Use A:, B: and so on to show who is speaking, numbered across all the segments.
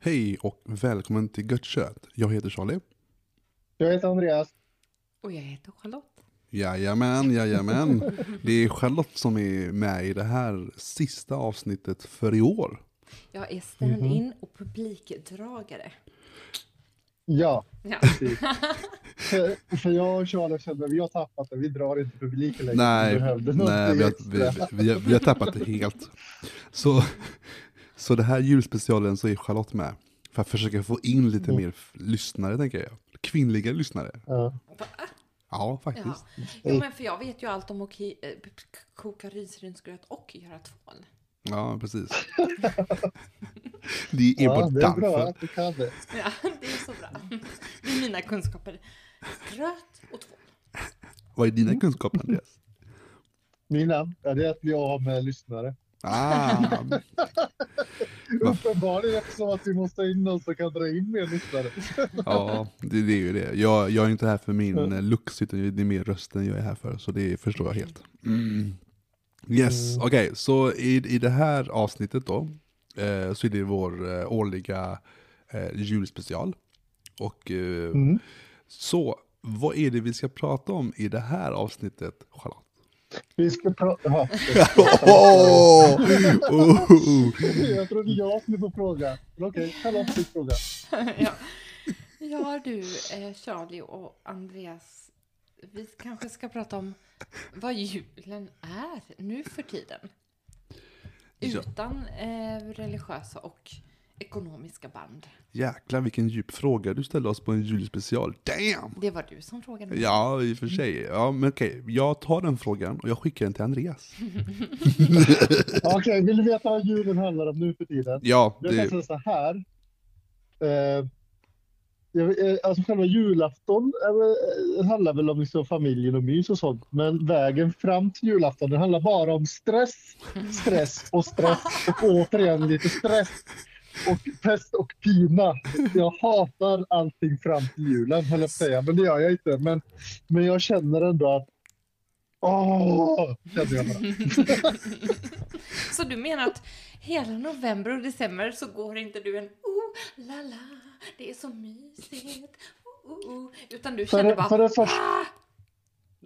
A: Hej och välkommen till Gött kött. Jag heter Charlie.
B: Jag heter Andreas.
C: Och jag heter Charlotte.
A: Jajamän, jajamän. Det är Charlotte som är med i det här sista avsnittet för i år.
C: Jag är stand-in och publikdragare.
B: Ja,
C: Ja.
B: för, för jag och Charlie Söderberg, vi har tappat det. Vi drar inte publiken längre. vi
A: Nej,
B: behövde
A: nej
B: någonting
A: vi, har,
B: extra.
A: vi, vi, vi, har, vi har tappat det helt. Så, så det här julspecialen så är Charlotte med. För att försöka få in lite mer f- lyssnare tänker jag. Kvinnliga lyssnare.
B: Mm. Ja.
A: Ja,
C: ja.
A: faktiskt.
C: Jo, men för jag vet ju allt om att ki- eh, p- p- koka risgrynsgröt och göra tvål.
A: Ja, precis. Det är
B: ja,
A: enbart
B: det är bra
A: därför.
B: att du kan det.
C: Ja, det är så bra. Det är mina kunskaper. Gröt och tvål.
A: Vad är dina kunskaper Andreas?
B: Mina, ja, det är att bli av med lyssnare.
A: Ah, Va?
B: Uppenbarligen eftersom att vi måste ha in någon som kan dra in mer lyssnare.
A: ja, det, det är ju det. Jag, jag är inte här för min eh, lux, utan det är mer rösten jag är här för. Så det förstår jag helt. Mm. Yes, okej. så i, i det här avsnittet då, eh, så är det vår eh, årliga eh, julspecial. Och eh,
B: Mm.
A: så, vad är det vi ska prata om i det här avsnittet, Charlotte?
B: Vi ska prata... Jaha,
A: Åh! Oh, oh.
B: jag trodde jag skulle få fråga. Men Okej, Charlotte fick fråga.
C: Ja, ja du, eh, Charlie och Andreas. Vi kanske ska prata om vad julen är nu för tiden.
A: Ja.
C: Utan eh, religiösa och ekonomiska band.
A: Jäklar vilken djup fråga du ställde oss på en julspecial. Damn!
C: Det var du som frågade mig.
A: Ja, i och för sig. Ja, men okej. Jag tar den frågan och jag skickar den till Andreas.
B: Okej, vill du veta vad julen handlar om nu för tiden?
A: Ja,
B: Jag kan
A: det,
B: säga så här. Eh, jag- eh, alltså själva julafton är väl- eh, handlar väl om liksom familjen och mys och sånt. Men vägen fram till julafton den handlar bara om stress, stress och stress. Och återigen lite stress. Och pest och pina. Jag hatar allting fram till julen, höll jag på att säga. Men det gör jag inte. Men, men jag känner ändå att... Åh! Känner jag bara.
C: Så du menar att hela november och december så går inte du en oh la la, det är så mysigt, oh, oh, oh. utan du
B: För
C: känner
B: det, för
C: bara
B: det första...
C: ah,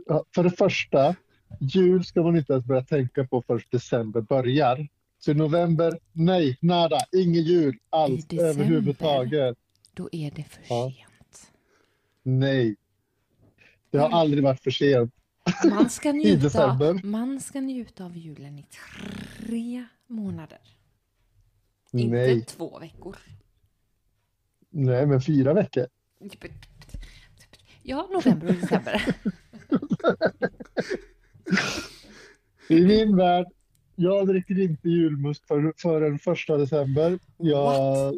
B: Ja, för det första, jul ska man inte ens börja tänka på först december börjar. Så i november, nej, nada, ingen jul alls
C: december?
B: överhuvudtaget.
C: då är det för
B: Ja.
C: sent.
B: Nej. Det har aldrig varit för sent.
C: Man ska, njuta,
B: december.
C: man ska njuta av julen i tre månader,
B: Nej,
C: inte två veckor.
B: nej men fyra veckor.
C: Ja, november och december.
B: I min värld, jag dricker inte julmust för, förrän första december. Jag...
C: What?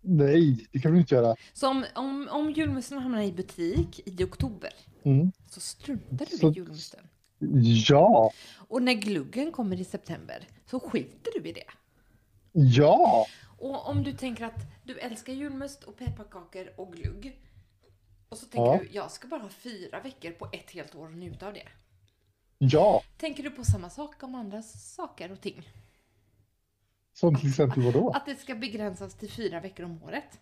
B: Nej, det kan du inte göra.
C: Så om, om, om julmusten hamnar i butik i oktober
B: Mm.
C: så struntar du
B: Så-
C: i julmusten.
B: Ja,
C: Och när gluggen kommer i september så skiter du i det.
B: ja.
C: Och om du tänker att du älskar julmust och pepparkakor och glugg. Och så tänker
B: Ja.
C: du, jag ska bara ha fyra veckor på ett helt år och njuta av det.
B: Ja,
C: Tänker du på samma sak om andra saker och ting?
B: som till exempel vadå?
C: Att det ska begränsas till fyra veckor om året?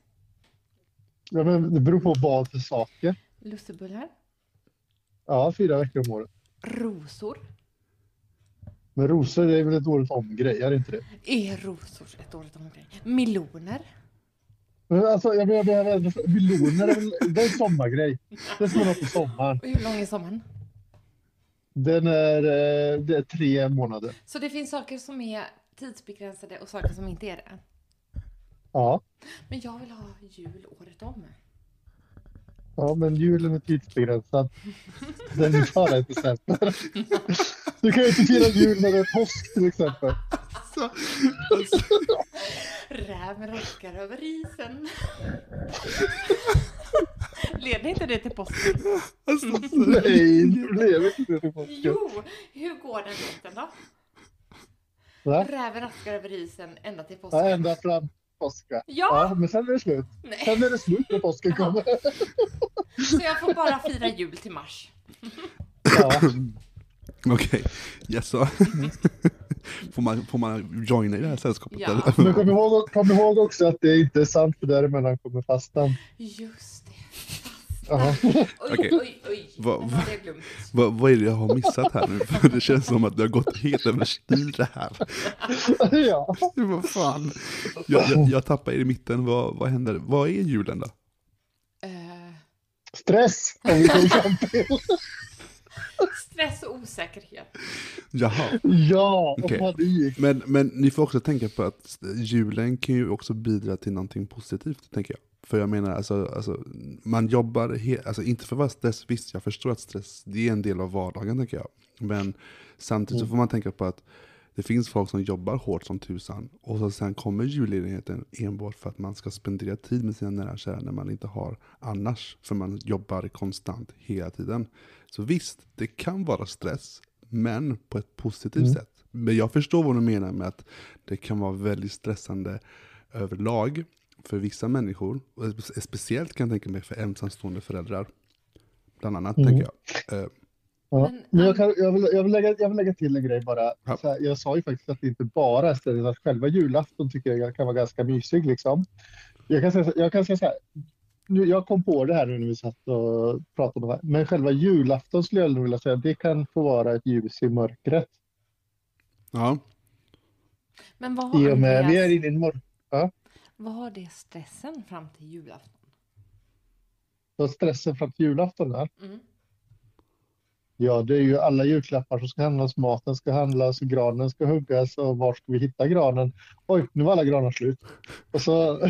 B: Ja, men det beror på vad för saker.
C: Lussebullar?
B: Ja, fyra veckor om året.
C: Rosor?
B: Men rosor är väl ett dåligt om grej, är det inte det?
C: Är rosor ett året om grej? Meloner?
B: Men alltså, jag menar, jag behöver ändå... Meloner är väl... Det är en sommargrej. Det ska man ha på sommaren.
C: Och hur lång är sommaren?
B: Den är, eh, det är tre månader.
C: Så det finns saker som är tidsbegränsade och saker som inte är det.
B: Ja,
C: Men jag vill ha jul året om.
B: ja men julen är tidsbegränsad. Den är bara ett exempel. Du kan ju inte fira jul när det är påsk till exempel.
A: alltså, alltså,
C: Räven rockar över isen. Leder inte det till påsken?
A: alltså, alltså,
B: Nej, det blev inte det till påsken.
C: Jo! Hur går den låten då?
B: Va?
C: Räven rockar över isen ända till påsken.
B: Ja, ända fram påska.
C: Ja,
B: Ja, men sen är det slut.
C: nej.
B: Sen är det slut när påsken kommer.
C: Så jag får bara fira jul till mars.
B: Ja.
A: Okej, yes så. får, man, får man joina i det här sällskapet?
C: Ja.
A: eller?
B: Men kom ihåg, kom ihåg också att det är inte är sant för däremellan kommer fastan.
C: Just det.
B: Ja.
C: Oj,
A: Okej.
C: oj, oj.
A: Va-
C: Den hade jag glömt.
A: Vad, vad är det jag har missat här nu? För det känns som att det har gått helt överstyr det här.
B: ja.
A: vad fan. Jag, jag, jag tappar er i mitten, vad, vad händer? Vad är julen då?
C: Eh,
B: Stress om vi kommer fram till.
C: stress och osäkerhet.
A: Jaha.
B: Ja, och
A: Okej.
B: panik.
A: Men, men ni får också tänka på att julen kan ju också bidra till någonting positivt, tänker jag. För jag menar, alltså, alltså man jobbar, he- alltså inte för att vara stress, visst jag förstår att stress, det är en del av vardagen tänker jag. Men samtidigt så får man tänka på att det finns folk som jobbar hårt som tusan och så sen kommer julledigheten enbart för att man ska spendera tid med sina nära och kära när man inte har annars. För man jobbar konstant hela tiden. Så visst, det kan vara stress, men på ett positivt sätt. Men jag förstår vad du menar med att det kan vara väldigt stressande överlag för vissa människor. Och spe- speciellt kan jag tänka mig för ensamstående föräldrar. Bland annat tänker jag. Eh,
B: Ja.
C: Men-
B: Men jag, kan, jag, vill, jag, vill lägga, jag vill lägga till en grej bara.
A: Ja.
B: Så här, jag sa ju faktiskt att det inte bara är stress, att själva julafton tycker jag kan vara ganska mysig. Liksom. Jag kan säga, så- jag kan säga så här. Nu, jag kom på det här nu när vi satt och pratade om det här. Men själva julafton skulle jag nog vilja säga, det kan få vara ett ljus i mörkret.
A: ja.
C: Men vad
B: I
C: har,
B: och med, vi är
C: Andreas,
B: inne i en mörk... Ja,
C: vad har det stressen fram till julafton?
B: så stressen fram till julafton där.
C: Mm.
B: Ja, det är ju alla julklappar som ska handlas, maten ska handlas, granen ska huggas och var ska vi hitta granen? Oj, nu var alla granar slut. Och, så,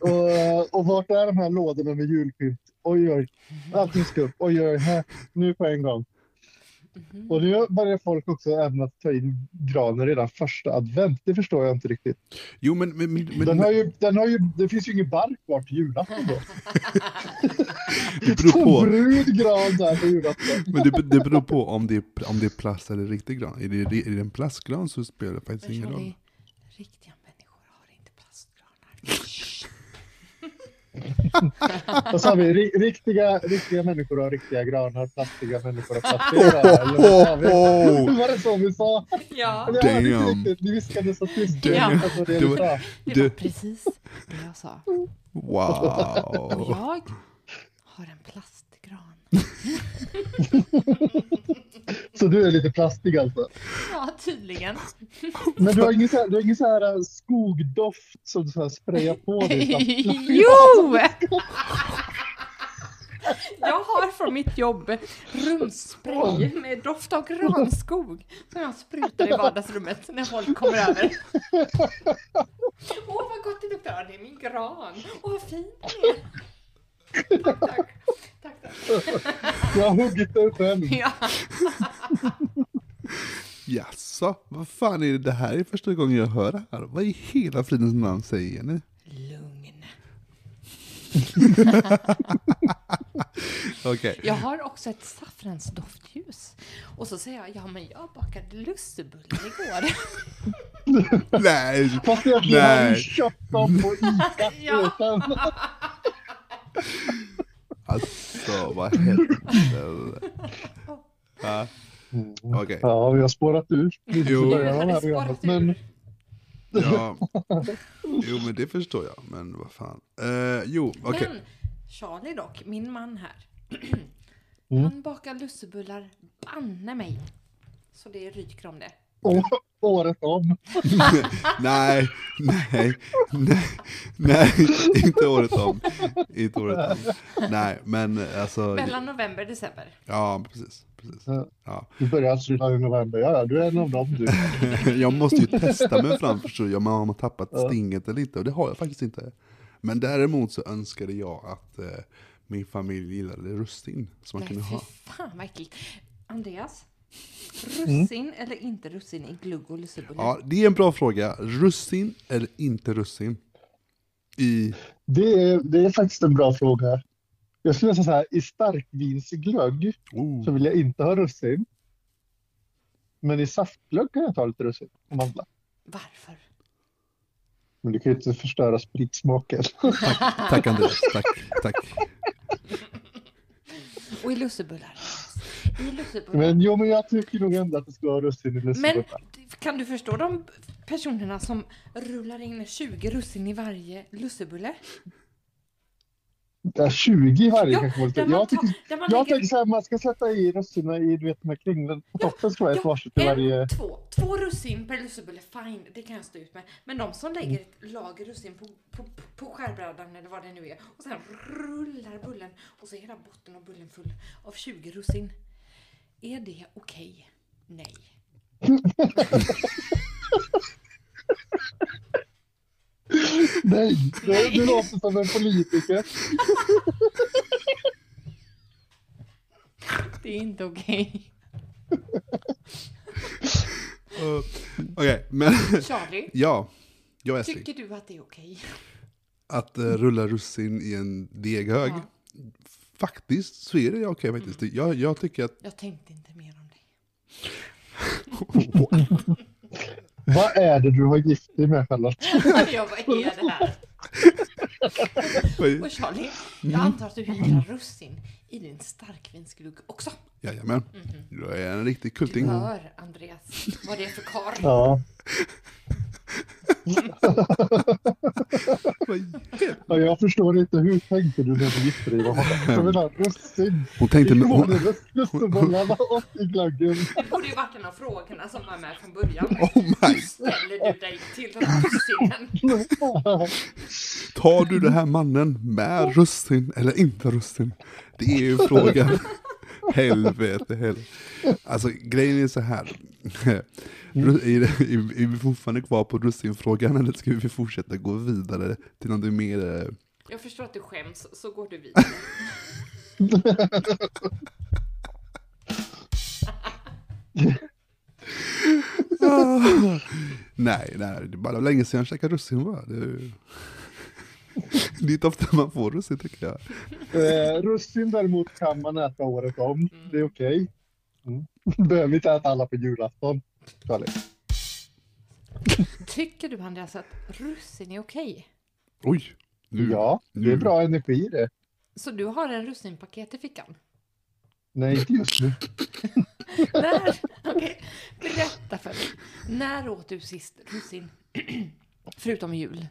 B: och, och vart är de här lådorna med julpynt? Oj, oj, allting ska upp. Oj, oj, här, nu på en gång.
C: Mhm.
B: Och nu börjar folk också även att ta in granen redan första advent. Det förstår jag inte riktigt.
A: Jo men, men, men, men
B: Den har ju, den har ju, det finns ju ingen bark kvar till julafton då.
A: det beror
B: Så
A: på.
B: brun gran där på julafton.
A: Men det, det beror på om det, är, om det är plast eller riktig gran. Är det, är det en plastgran så spelar det faktiskt
C: Men
A: ingen
C: Charlie,
A: roll.
C: riktiga människor har inte plastgranar. Shh.
B: Vad sa vi? Ri- Riktiga, riktiga människor har riktiga granar, plastiga människor har plastiga granar. Eller vad sa vi? Var det så vi sa?
C: Ja,
B: Jag hörde inte
A: Damn.
B: riktigt. Ni viskade så tyst.
A: Damn.
B: Jag fattar det
A: Det
B: vi
A: var-
B: sa.
C: det var
A: Du.
C: precis det jag sa. Och
A: Wow.
C: jag har en plastgran.
B: Så du är lite plastig alltså.
C: Ja, tydligen.
B: Men du har ingen så här, du har ingen så här äh, skogdoft som du så här sprayar på dig. så att-
C: Jo! Jag har från mitt jobb rumsspray med doft av granskog som jag sprutar i vardagsrummet när folk kommer över. Åh, vad gott det luktar! Ja, Det är min gran. Åh, vad fin den är! Tack, tack. tack, tack.
B: Jag har huggit den själv.
C: Ja.
A: Jaså, vad fan är det? Det här är första gången jag hör det här. Vad i hela fridens namn säger ni?
C: Lugn.
A: Okej.
C: Jag har också ett saffransdoftljus. Och så säger jag, ja men jag bakade lussebullar igår.
A: Nej.
B: Fast egentligen har du
A: Nej.
B: köpt dem på Ica.
C: Ja.
B: Utan-
A: Alltså, vad händer? Ja, Okej.
B: Ja, vi har spårat ur.
A: Jo.
C: Jag hade
B: Ja,
C: sparat ur.
B: men-
A: Ja. Jo, men det förstår jag. Men vad fan. Eh, jo, okej.
C: Men Charlie dock, min man här.
B: Mm.
C: Han bakar lussebullar banne mig. Så det ryker om det.
B: Å- Året om.
A: nej, nej, nej, nej, inte året om. Inte året om. Nej, men alltså,
C: Mellan november och december.
A: ja, precis. precis. Ja.
B: Du börjar alltså redan i november. Ja, ja, du är en av dem du.
A: Jag måste ju testa mig fram förstår jag, men har man tappat stinget eller inte? Och det har jag faktiskt inte. Men däremot så önskade jag att eh, min familj gillade russin. Som man
C: Nej
A: kunde
C: fy
A: ha.
C: fan vad äckligt. Andreas? Russin eller inte russin i glugg och lussebullar?
A: Ja, det är en bra fråga. Russin eller inte russin? I...
B: Det är, det är faktiskt en bra fråga. Jag skulle säga så här, i starkvinsglögg så
A: Oh.
B: vill jag inte ha russin. Men i saftglögg kan jag ta lite russin och mandlar.
C: Varför?
B: Men du kan ju inte förstöra spritsmaken.
A: Tack, tack Andreas, tack, tack.
C: Och i lussebullar. I lussebullar.
B: Men jo, men jag tycker nog ändå att det ska vara russin i
C: Men
B: lussebullar.
C: kan du förstå de personerna som rullar in 20 russin i varje lussebulle?
B: Ja, 20 i varje
C: Ja,
B: kanske var lite.
C: där man
B: Jag,
C: tar-
B: tycker,
C: där man
B: jag
C: lägger-
B: tänker så här, man ska sätta i russinen i du vet, de här kringlen på toppen ska vara ett varsitt i
C: en,
B: varje.
C: två. Två russin per lussebulle, fine, det kan jag stå ut med. Men de som
B: Mm.
C: lägger ett lager russin på, på, på skärbrädan eller vad det nu är och sen rullar bullen och så är hela botten av bullen full av 20 russin. Är det okej? Nej.
B: Nej, det, det låter som en politiker.
C: Det är inte okej.
A: Uh, Okej, men
C: Charlie,
A: ja, jag är Essling.
C: tycker du att det är okej?
A: Att eh, rulla russin i en deghög.
C: Ja.
A: Faktiskt så är det okej faktiskt. Jag, jag tycker att...
C: Jag tänkte inte mer om det.
B: Vad är det du har gift dig med Charlotte?
C: Jag bara, är det här? Och Charlie, jag antar att du gillar russin i din starkvinsglugg också.
A: Jajamän. Jag är en riktig
C: Du
A: kulting.
C: hör, Andreas, vad det är för karl.
B: Ja, ja, jag förstår inte. Hur tänkte du när du gifte dig med honom? Som en russin.
A: Hon tänkte...
B: I
A: Hon,
B: lussebullarna och i glöggen.
C: Det borde ju varit en av frågorna som var med från början.
A: oh my!
C: Ställer du dig till russinen?
A: Tar du den här mannen med russin eller inte russin? Det är ju frågan. Helvete heller. Alltså grejen är så här. Är, det- är, är vi fortfarande kvar på russinfrågan eller ska vi fortsätta gå vidare till någonting mer? eh,
C: Jag förstår att du skäms, så går du vidare.
A: Ah. nej, nej, det är bara länge sedan jag käkade russin va? Det är, ju- det är inte ofta man får russin tycker jag.
B: Eh, russin däremot kan man äta året om. Det är okej. Mm. Behöver inte äta alla på julafton. Charlie.
C: Tycker du Andreas att russin är okej?
A: Oj! Nu.
B: Ja, det är
A: Mm.
B: bra energi i det.
C: Så du har en russinpaket i fickan?
B: Nej, inte just nu.
C: När, okej, berätta för mig. När åt du sist russin? Förutom jul.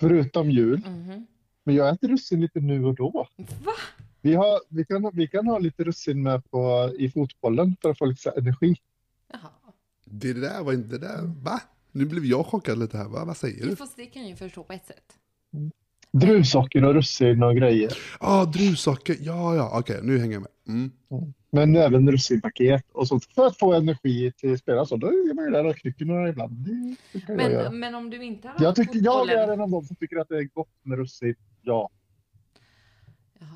B: Förutom jul.
C: Mhm.
B: Men jag äter russin lite nu och då.
C: Va?
B: Vi, har, vi, kan, vi kan ha lite russin med på, i fotbollen för att få lite så här energi.
C: Jaha.
A: Det där var inte det där,
B: Mm.
A: va? Nu blev jag chockad lite här, va? Vad säger du?
C: Ja, Fast det kan jag ju förstå på ett sätt.
B: Druvsocker och russin och grejer.
A: Ja, ah, druvsocker, ja, ja, okej, nu hänger jag med. Mm.
B: Men även russinpaket och sånt för att få energi till spelarna. Så då är man ju där och knycker några ibland. Det, det kan jag göra.
C: Men, men om du inte har
B: Jag,
C: haft
B: tycker, jag
C: fotbollen-
B: är en av dem som tycker att det är gott med russin. Ja.
C: Jaha,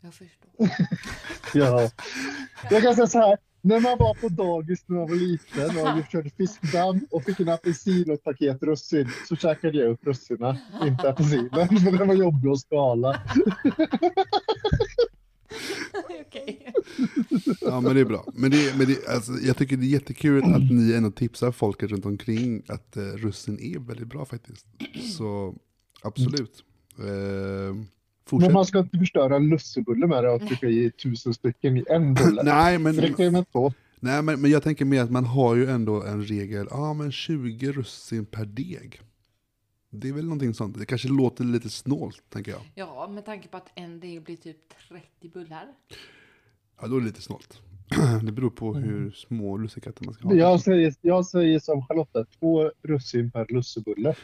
C: jag förstår.
B: ja. Jag kan säga så här. När man var på dagis när man var liten och vi körde fiskdamm och fick en apelsin och ett paket russin så käkade jag upp russinen, inte apelsinen. För den var jobbig att skala.
C: Okej.
A: Ja, men det är bra. Men, det, men det, alltså, jag tycker det är jättekul att
B: Mm.
A: ni ändå tipsar folket runt omkring att eh, russin är väldigt bra faktiskt. Så absolut. Eh,
B: Men
A: fortsätt.
B: man ska inte förstöra en lussebulle med det och trycka i tusen stycken i en bulle.
A: Nej, men...
B: Det räcker med två.
A: Nej, men, men jag tänker mer att man har ju ändå en regel, ja ah, men 20 russin per deg. Det är väl någonting sånt, det kanske låter lite snålt, tänker jag.
C: Ja, med tanke på att en del blir typ 30 bullar.
A: Ja, då är det lite snålt. Det beror på hur små lussekatter man ska ha.
B: Jag säger, jag säger som Charlotta, två russin per lussebulle.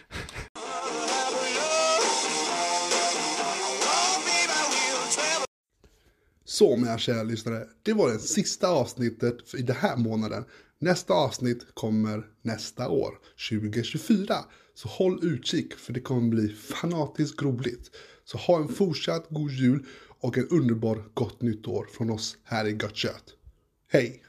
A: Så mina kära lyssnare, det var det sista avsnittet för i den här månaden. Nästa avsnitt kommer nästa år, 2024. Så håll utkik för det kommer bli fanatiskt roligt. Så ha en fortsatt god jul och en underbar gott nytt år från oss här i Gött Kött. Hej!